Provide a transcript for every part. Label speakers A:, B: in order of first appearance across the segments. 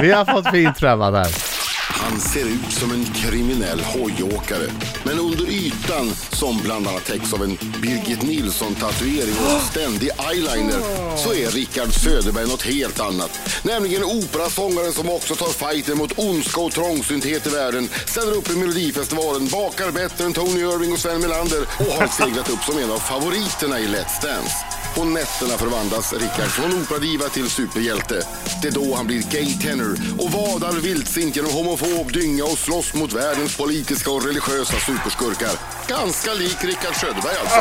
A: Vi har fått fint träffat här.
B: Han ser ut som en kriminell hojåkare. Men under ytan, som bland annat täcks av en Birgit Nilsson-tatuering och ständig eyeliner, så är Rickard Söderberg något helt annat. Nämligen operasångaren som också tar fighten mot ondska och trångsynthet i världen, ställer upp i Melodifestivalen, bakar bättre än Tony Irving och Sven Melander och har seglat upp som en av favoriterna i Let's Dance. På nätterna förvandlas Rickard från operadiva till superhjälte. Det är då han blir gay tenor och vadar vildsint genom homofob dynga och slåss mot världens politiska och religiösa superskurkar. Ganska lik Rickard Söderberg alltså.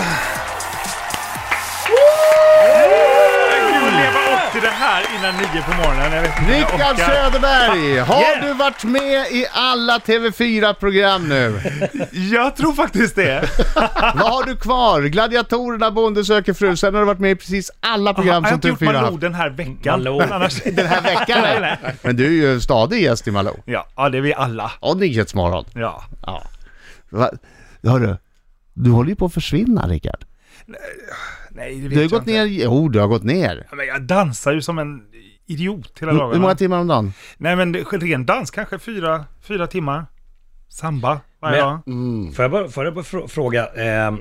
C: Jag leva upp till det här innan nio på morgonen. Jag vet inte om jag
A: Rickard
C: orkar.
A: Söderberg, har
C: Yeah.
A: du varit med i alla TV4-program nu?
C: Jag tror faktiskt det.
A: Vad har du kvar? Gladiatorerna, Bonde söker fru. Sen har du varit med i precis alla program
C: jag har
A: som
C: inte gjort
A: TV4 har
C: Malou
A: haft.
C: den här veckan.
D: Malou.
C: men Annars...
A: Den här veckan?
C: Nej,
A: nej.
C: nej.
A: Men du är ju en stadig gäst i Malou.
C: Ja, ja, det är vi alla.
A: Och Nyhetsmorgon.
C: Ja.
A: Ja. Va? Hörru, du håller ju på att försvinna Rickard.
C: Nej, det vet
A: Du har
C: jag
A: gått
C: inte.
A: ner, jo du har gått ner.
C: Ja, Men jag dansar ju som en idiot hela
A: Hur hur
C: dagen.
A: många timmar om dagen?
C: Nej, men det- ren dans kanske fyra, fyra timmar. Samba varje
D: Men-
C: dag.
D: Får jag bara, får jag bara frå- fråga, eh,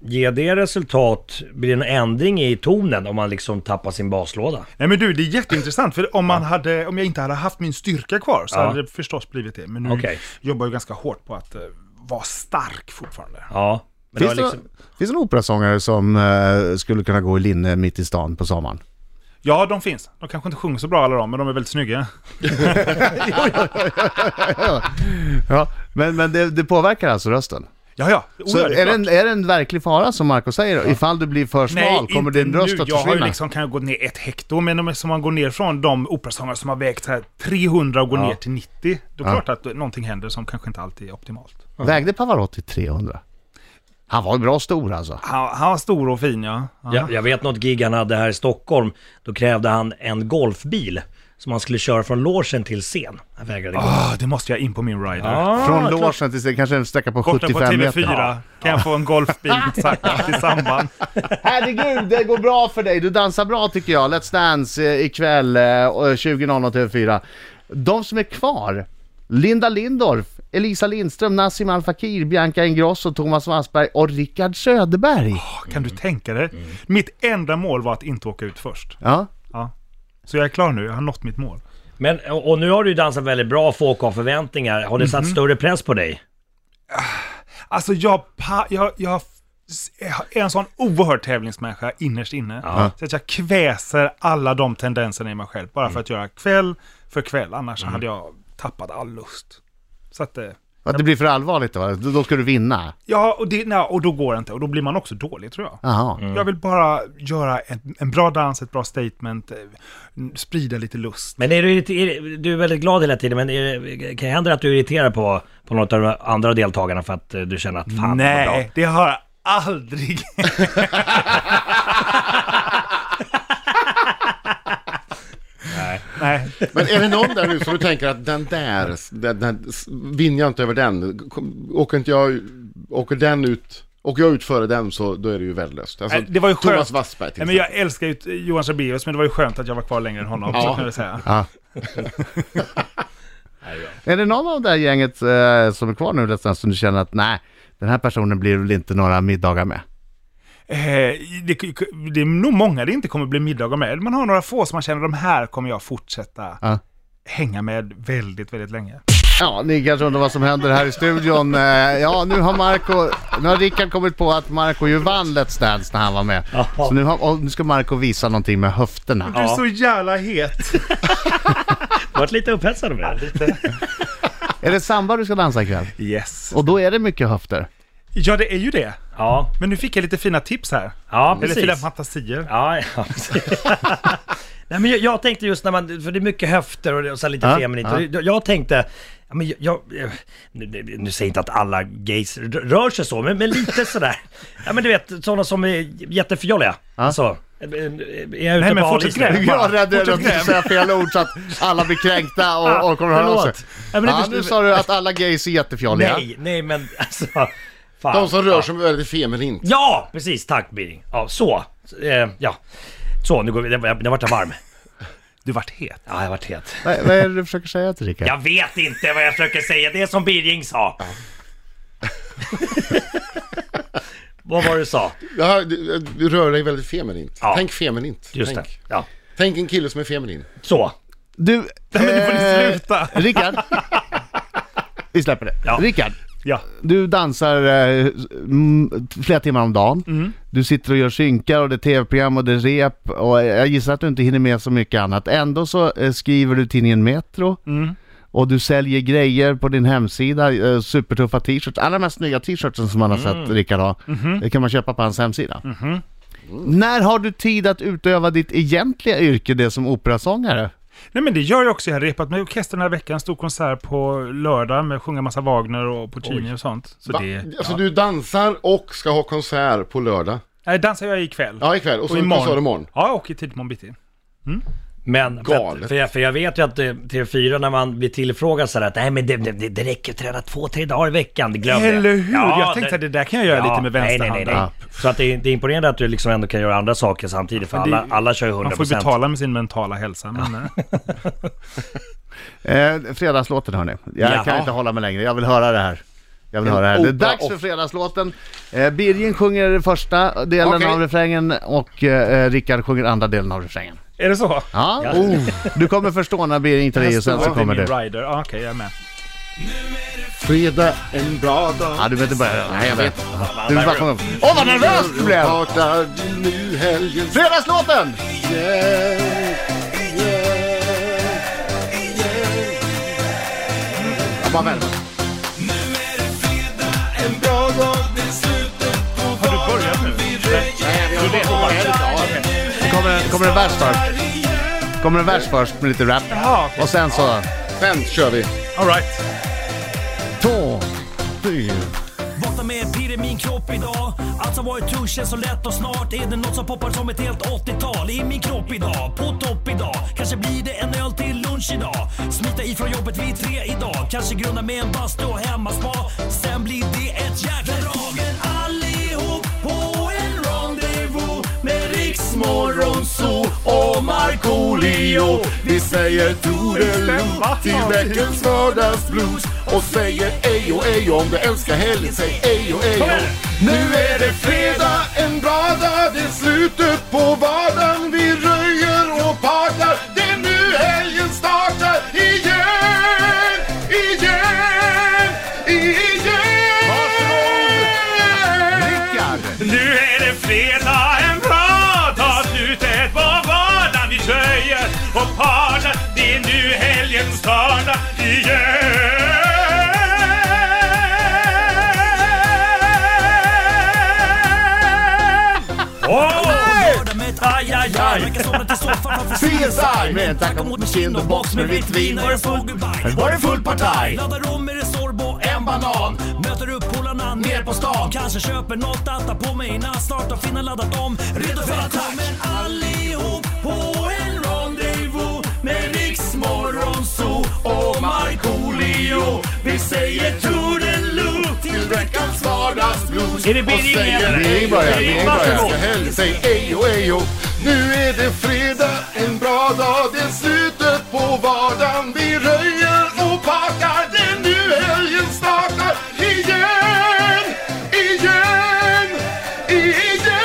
D: ger det resultat, blir det en ändring i tonen om man liksom tappar sin baslåda?
C: Nej men du, det är jätteintressant för om, man hade, om jag inte hade haft min styrka kvar så
D: Ja.
C: hade det förstås blivit det. Men nu
D: Okej.
C: jobbar jag ganska hårt på att eh, vara stark fortfarande.
D: Ja. Men
A: Finns
D: det
A: det,
D: var liksom,
A: finns det en operasångare som eh, skulle kunna gå i linne mitt i stan på sommaren?
C: Ja, de finns. De kanske inte sjunger så bra alla de, men de är väldigt snygga.
A: Ja, men, men det, det påverkar alltså rösten?
C: Ja, ja. Oh,
A: Så
C: ja, det
A: är, det
C: klart.
A: en, är det en verklig fara som Marco säger? Ifall du blir för smal, kommer
C: inte
A: din röst
C: nu.
A: att
C: Jag har ju
A: försvinna?
C: liksom, kan jag gå ner ett hekto, men om som man går ner från de operasångare som har vägt så här 300 och går
D: Ja.
C: ner till 90, då är det klart att någonting händer som kanske inte alltid är optimalt.
A: Vägde Pavarotti 300? Han var bra stor alltså.
C: Han, han var stor och fin, ja. ja.
D: jag, jag vet något gig han hade här i Stockholm, då krävde han en golfbil som han skulle köra från logen till scen. Han vägrade gå.
C: Ah, det måste jag in på min rider.
A: Från logen till kanske en sträcka på
C: Borta
A: 75
C: Ah, på TV4
A: meter.
C: kan jag få en golfbil tack, i samband.
A: Herregud, det går bra för dig. Du dansar bra tycker jag. Let's Dance eh, ikväll eh, 20.00 TV4. De som är kvar, Linda Lindorff, Elisa Lindström, Nassim Al Fakir, Bianca Ingrosso, Thomas Wassberg och Rickard Söderberg.
C: Ah, Kan
A: Mm.
C: du tänka dig? Mitt enda mål var att inte åka ut först.
A: Ja.
C: Ja. Så jag är klar nu, jag har nått mitt mål.
D: Men, och och nu har du ju dansat väldigt bra, folk har förväntningar. Har det satt större press på dig?
C: Alltså jag, pa- jag, jag s- är en sån oerhörd tävlingsmänniska innerst inne.
D: Ja.
C: Så att jag kväser alla de tendenserna i mig själv. Bara för att göra kväll för kväll. Annars hade jag tappat all lust. Så att, eh,
A: Att det blir för allvarligt då? Då då ska du vinna?
C: ja, och, det, nej, och då går det inte. Och då blir man också dålig tror jag.
A: Jaha.
C: Jag vill bara göra en, en bra dans, ett bra statement, eh, n- sprida lite lust.
D: Men är du, irrite- är, du är väldigt glad hela tiden, men är, det- kan det hända att du irriterar på, på något av de andra deltagarna för att eh, du känner att fan vad bra?
C: Nej, det har jag aldrig. Nej. Nej.
E: Men är det någon där nu som du tänker att den där, den, den, vinner jag inte över den, kom- åker inte jag, åker den ut, åker jag ut före den så då är det ju värdelöst. Alltså,
C: Nej, Det var ju skönt.
E: Thomas Wassberg till
C: Nej, men jag älskar ju t- Johan Sabeus, men det var ju skönt att jag var kvar längre än honom. Så kan jag säga.
A: Är det någon av det här gänget eh, som är kvar nu Let's Dance som du känner att nej, den här personen blir väl inte några middagar med?
C: Eh, det, det är nog många det inte kommer bli middagar med. Man har några få som man känner, de här kommer jag fortsätta
A: Ja.
C: hänga med väldigt, väldigt länge.
A: Ja, ni kanske undrar vad som händer här i studion. Eh, Ja, nu har Marco, nu har Rickard kommit på att Marco ju vann Let's Dance när han var med. Så nu, har, och nu ska Marco visa någonting med höfterna.
C: Du är så jävla het.
D: Du varit lite upphetsad med det.
A: Är det samba du ska dansa ikväll?
C: Yes.
A: Och då är det mycket höfter.
C: Ja, det är ju det.
D: Ja,
C: Men nu fick jag lite fina tips här.
D: ja
C: Eller fina
D: precis.
C: fantasier.
D: Ja, ja precis. Nej, men jag, jag tänkte just när man, för det är mycket höfter och, det- och så här lite
A: Ja,
D: feminint.
A: ja.
D: Och Jag, jag tänkte, ja, men jag, jag, nu, nu- nu säger jag inte att alla gays r- rör sig så, men, men lite sådär. Ja men du vet, sådana som är jättefjolliga. Så, är jag ute
C: men
D: på
C: fortsätt
D: hal is nu?
C: gräva.
A: Jag är rädd att jag
C: Fortsätt
A: ska säga fel ord så att alla blir kränkta och, och kommer att höra av sig.
D: Ja, men det
A: Ja,
D: förstår-
A: nu sa du att alla gays är jättefjolliga.
D: Nej, nej men alltså. Fan.
E: De som rör sig väldigt feminint.
D: Ja, precis. Tack Birging. Ja, så. Eh, ja. Så, nu går vi. Den, den vart jag varm.
C: Du vart het.
E: Ja, jag har varit het.
A: Vad, vad är det du försöker säga till Rickard?
E: Jag vet inte vad jag försöker säga. Det är som Birging sa. vad var det du sa?
B: Ja, du, eh, du rör dig väldigt feminint.
E: Ja.
B: Tänk feminint.
E: Just
B: Tänk.
E: det. Ja.
B: Tänk en kille som är feminin.
E: Så.
A: Du...
C: Nej, men nu får ni
A: eh,
C: sluta.
A: Rickard. Vi släpper det.
E: Ja.
A: Rickard.
C: Ja.
A: Du dansar eh, mm, flera timmar om dagen. Du sitter och gör synkar och det är tv-program och det är rep. Och jag gissar att du inte hinner med så mycket annat. Ändå så eh, skriver du tidningen Metro. Och du säljer grejer på din hemsida, eh, supertuffa t-shirts. Alla de här snygga t-shirtsen som man har sett Rickard ha, det kan man köpa på hans hemsida. När har du tid att utöva ditt egentliga yrke, det som operasångare?
C: Nej men det gör jag också. Jag har repat med orkestern den här veckan. Stor konsert på lördag med att sjunga massa Wagner och Puccini och sånt. Så
B: Va?
C: det...
B: Alltså du dansar och ska ha konsert på lördag.
C: Nej, dansar jag ikväll.
B: Ja, ikväll. Och så konsert imorgon.
C: Ja, och i tidigt imorgon bitti.
E: Men, för,
B: Galet.
E: att, för, jag, för jag vet ju att eh, TV4 när man blir tillfrågad sådär att nej men det, det, det räcker att träna två, tre dagar i veckan, det glömde
C: Eller hur? jag tänkte
E: det-
C: att det där kan jag göra lite med vänsterhanden.
E: Nej, nej, nej. nej. Så att det, är, det är imponerande att du liksom ändå kan göra andra saker samtidigt för
C: Men det-
E: alla, alla kör ju 100%.
C: Man får ju betala med sin mentala hälsa. Men, eh,
A: Eh, fredagslåten hörni. Jag
E: Jaha.
A: kan inte hålla mig längre. Jag vill höra det här. Jag vill höra det här. Det är
B: opera
A: dags för
B: och-
A: fredagslåten. Eh, Birgin sjunger första delen
B: Okej.
A: av refrängen och eh, Rickard sjunger andra delen av refrängen.
C: eh, är det så?
A: Ja. Oh. Du kommer förstå när Birgin tar i och sen så kommer
C: du.
A: du.
C: Rider. Ja, Okej, jag är med.
B: Fredag en bra dag.
A: Ja, du behöver inte börja.
B: Nej, jag vet.
A: Du vill bara sjunga. Åh vad nervös du blev!
B: Startar nu helgen.
A: Fredagslåten!
B: Yeah, yeah.
A: Jag bara vänder.
C: Har du börjat nu?
B: Nej, vi har bara kommit här idag.
A: Det Kommer, kommer en vers först? Kommer en vers först med lite rap?
C: Jaha, okej.
A: Och sen så...
B: Sen kör vi.
C: All right.
A: Två, fyra.
D: Vakna med ett pirr i min kropp idag Allt som varit tungt känns så lätt och snart är det något som poppar som ett helt 80-tal i min kropp idag, på topp idag Kanske blir det en öl till lunch idag Smita ifrån jobbet vid tre idag Kanske grunda med en bastu och hemmaspa Sen blir det ett jäkla drag Allihop på en rendezvous med Riksmorgonzoo och Markoolio
B: Vi säger todeloo till veckans vardagsblues och säger ejo ejo om du älskar helgen. Säg ejo ejo. Nu är det fredag, en bra dag. Det är slutet på vardagen. Vi röjer och partar. Det är nu helgen startar. Igen, igen, igen. Varsågod.
A: Rickard!
C: Nu är det fredag, en bra dag. Slutet på vardagen. Vi röjer och partar. Det är nu helgen startar igen.
D: Lördag med ett aj, aj, aj. Verkar som att det står framför
A: CSI med en tacka mot med kind och box med vitt vin.
D: Var det full goodbye?
A: Var det full partaj?
D: Laddar om med Resorb och en banan. Möter upp polarna ner på stan. Kanske köper något att ta på mig innan start och finna laddat om. Redo för attack. Men allihop på en rendezvous med Riksmorgonzoo och Markoolio. Vi säger toodaloo till
B: Veckans vardagsblues
D: Är det Birging eller?
B: Birging börjar, Birging börjar.
D: Varsågod.
B: Ska helst säg ejo ejo Nu är det fredag, en bra dag Det är slutet på vardagen Vi röjer och packar Det är nu helgen startar Igen, igen, igen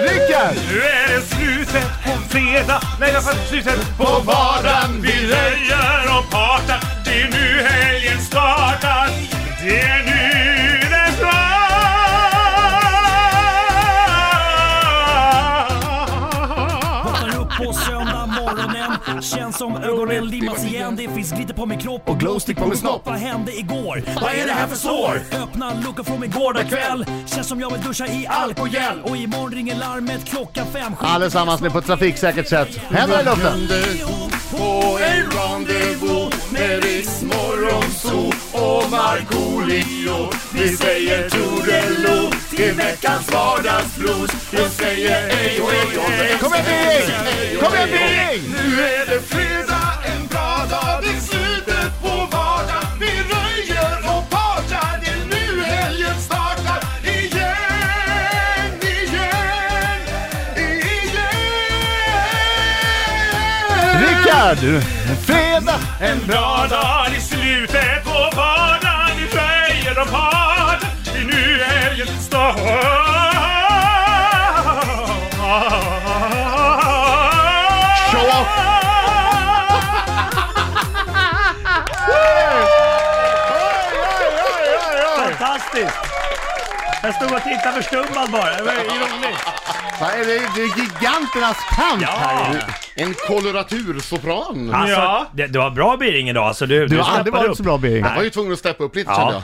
A: Rickard!
C: Nu är det slutet på fredag. Nej, jag fattar slutet
B: På vardagen vi
C: Vi
B: röjer
C: röjer och partar, det är nu helgen startar. Det är nu den startar.
D: Vaknar upp på söndag morgonen Känns som ögonen limmas igen Det finns glitter på min kropp och glowstick på min snopp Vad hände igår? Vad är det här för sår? Öppna luckan från min gårdagkväll Känns som jag vill duscha i alkogel Och imorgon ringer larmet klockan fem Skit-
A: Allesammans ni på ett trafiksäkert sätt. Händerna i luften!
B: På en rendezvous med Riks Morgonzoo och Markoolio Vi säger toodaloo till veckans vardagsblues Jag säger hej och hej och hej
A: Kom igen Birging! Kom igen Birging!
B: Nu är det fredag, en bra dag Det är slutet på vardagen Vi röjer och partar Det är nu helgen startar Igen, igen, igen
A: Rickard! Fredag!
F: En bra dag i slutet på vardagen Vi röjer om hard Det är nu helgen start
A: Show off!
D: Fantastiskt! Jag stod och tittade förstummad bara. Det var ironiskt.
A: Vad är det? Det är giganternas kamp här inne.
B: En koloratursopran. Jag
D: Alltså,
F: Ja.
D: det, det var bra Biring idag. Alltså, du,
A: Du har aldrig
D: steppade
A: varit
D: upp.
A: så bra Birgit.
B: var ju tvungen att steppa upp lite
D: Ja.
B: kände jag.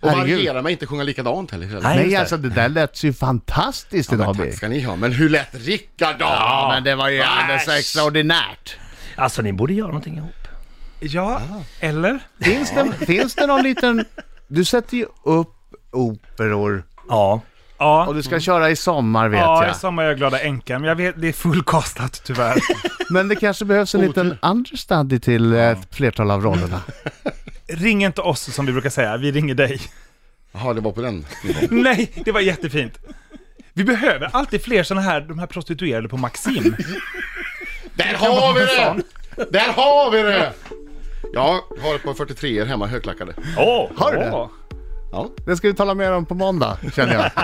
B: Och
A: Herregud.
B: variera mig, inte sjunga likadant heller. kände jag.
D: Nej, just
A: Nej
D: det.
A: alltså det där lät ju fantastiskt idag
B: Tack
A: Birgit.
B: ska ni ha, men hur lät Rickard då?
A: Ja men det var ju alldeles
B: Äsch.
A: extraordinärt.
D: Alltså ni borde göra någonting ihop.
C: Ja, eller?
A: Finns det, finns det någon liten... Du sätter ju upp operor
D: Ja.
C: Ja.
A: och du ska köra i sommar vet
C: Ja, i
A: jag.
C: sommar är jag glada änkan, men jag vet, det är fullkastat tyvärr.
A: Men det kanske behövs en liten understudy till ett flertal av rollerna.
C: Ring inte oss som vi brukar säga, vi ringer dig.
B: Jaha, det var på den nivån.
C: Nej, det var jättefint. Vi behöver alltid fler såna här, de här prostituerade på Maxim.
B: Där har vi det! Där har vi det! Ja, jag har ett par 43 er hemma, högklackade.
D: Åh!
A: Har du det?
C: Åh.
B: Ja.
A: Det ska vi tala mer om på måndag känner jag.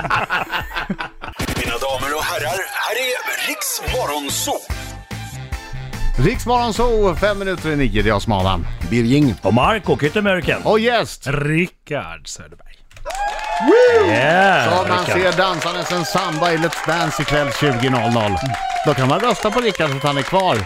G: Mina damer och herrar, här är Riks Morgonzoo!
A: Riksmorgon så fem minuter i nio, det är jag som är Adam.
B: Birging.
D: Och Marco Kyttemörken.
A: Och gäst!
C: Rickard Söderberg.
A: Om
D: Yeah!
A: man
D: Rickard.
A: ser dansandes en samba i Let's Dance ikväll 20.00. Då kan man rösta på Rickard så att han är kvar.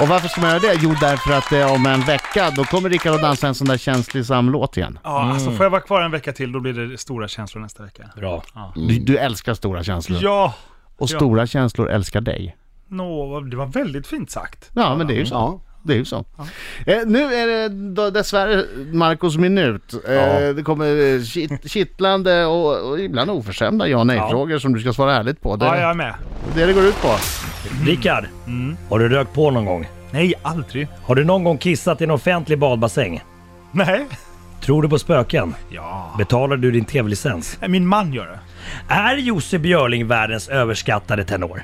A: Och varför ska man göra det? Jo, därför att eh, om en vecka då kommer Rickard att dansa en sån där känslig samlåt igen.
C: Ja, alltså får jag vara kvar en vecka till då blir det stora känslor nästa vecka.
A: Mm.
D: Bra.
A: Du, du älskar stora känslor.
C: Mm. Ja,
A: Och stora känslor älskar dig.
C: nå, det var väldigt fint sagt.
A: Ja, men det är ju så. Det är ju så. Eh, nu är det då, dessvärre Marcos minut. Eh, Det kommer eh, kitt, kittlande och, och ibland oförskämda ja och nej-frågor som du ska svara ärligt på. Det är
C: Ja, jag är med.
A: det det går ut på.
D: Rickard,
C: Mm.
D: har du rökt på någon gång?
C: Nej, aldrig.
D: Har du någon gång kissat i en offentlig badbassäng?
C: Nej.
D: Tror du på spöken?
C: Ja.
D: Betalar du din tv-licens?
C: Min man gör det.
D: Är Jussi Björling världens överskattade tenor?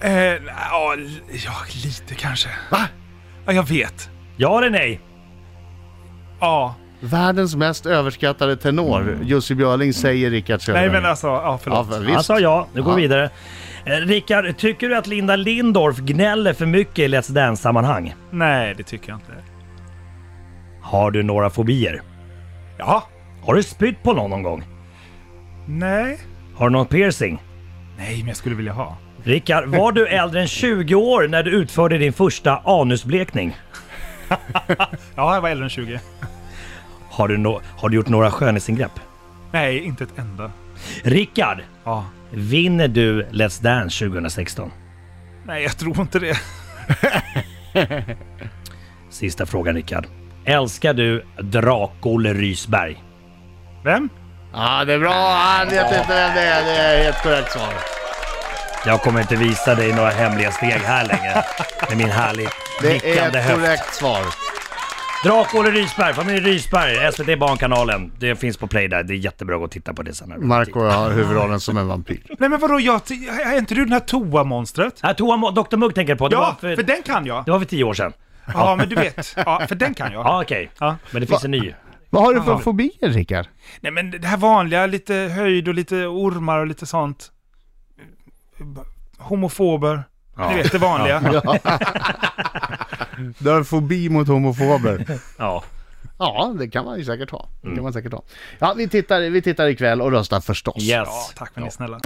C: Eh, ja, l- ja, lite kanske. Va? Ja, jag vet.
D: Ja eller nej?
C: Ja.
A: Världens mest överskattade tenor, Jussi Björling, säger Rickard Söderberg.
C: Nej, men alltså, ja,
A: Ja,
C: förlåt.
A: för,
D: Han
A: visst.
D: sa ja, nu går
A: Ja.
D: vi vidare. Eh, Rickard, tycker du att Linda Lindorff gnäller för mycket i Let's Dance-sammanhang?
C: Nej, det tycker jag inte.
D: Har du några fobier?
C: Ja.
D: Har du spytt på någon någon gång?
C: Nej.
D: Har du någon piercing?
C: Nej, men jag skulle vilja ha.
D: Rickard, var du äldre än 20 år när du utförde din första anusblekning?
C: Ja, jag var äldre än 20.
D: Har du, nå- har du gjort några skönhetsingrepp?
C: Nej, inte ett enda.
D: Rickard,
C: Ja.
D: vinner du Let's Dance 2016?
C: Nej, jag tror inte det.
D: Sista frågan Rickard. Älskar du Drak-Olle Rysberg?
C: Vem?
A: Ja, det är bra. Han vet inte vem det är. Det är ett korrekt svar.
D: Jag kommer inte visa dig några hemliga steg här längre. Med min härligt
A: Det är
D: nickande
A: ett
D: höft.
A: korrekt svar.
D: Drak-Olle Rysberg, familjen Rysberg, SVT Barnkanalen. Det finns på Play där. Det är jättebra att gå och titta på det sen. när du-
A: Marco har huvudrollen som en vampyr.
C: Nej, men vadå? Jag, t- är inte du det här toamonstret?
D: Här, Äh, Toa Mo- Dr Mugg tänker jag på. Det,
C: Ja,
D: var
C: för...
D: för,
C: den kan jag.
D: det var för tio år sedan.
C: Ja, men du vet. Ja, för den kan jag.
D: Ja, okej.
C: Ja.
D: Men det finns en ny.
A: Vad har du för fobier, Rickard?
C: Nej, men det här vanliga, lite höjd och lite ormar och lite sånt. Homofober. Ni vet, det vanliga.
A: Du har en fobi mot homofober.
D: Ja.
A: Ja, det kan man ju säkert ha. Det kan man säkert ha. Ja, vi tittar, vi tittar ikväll och röstar förstås.
D: Yes.
C: Ja, tack för ni är snälla.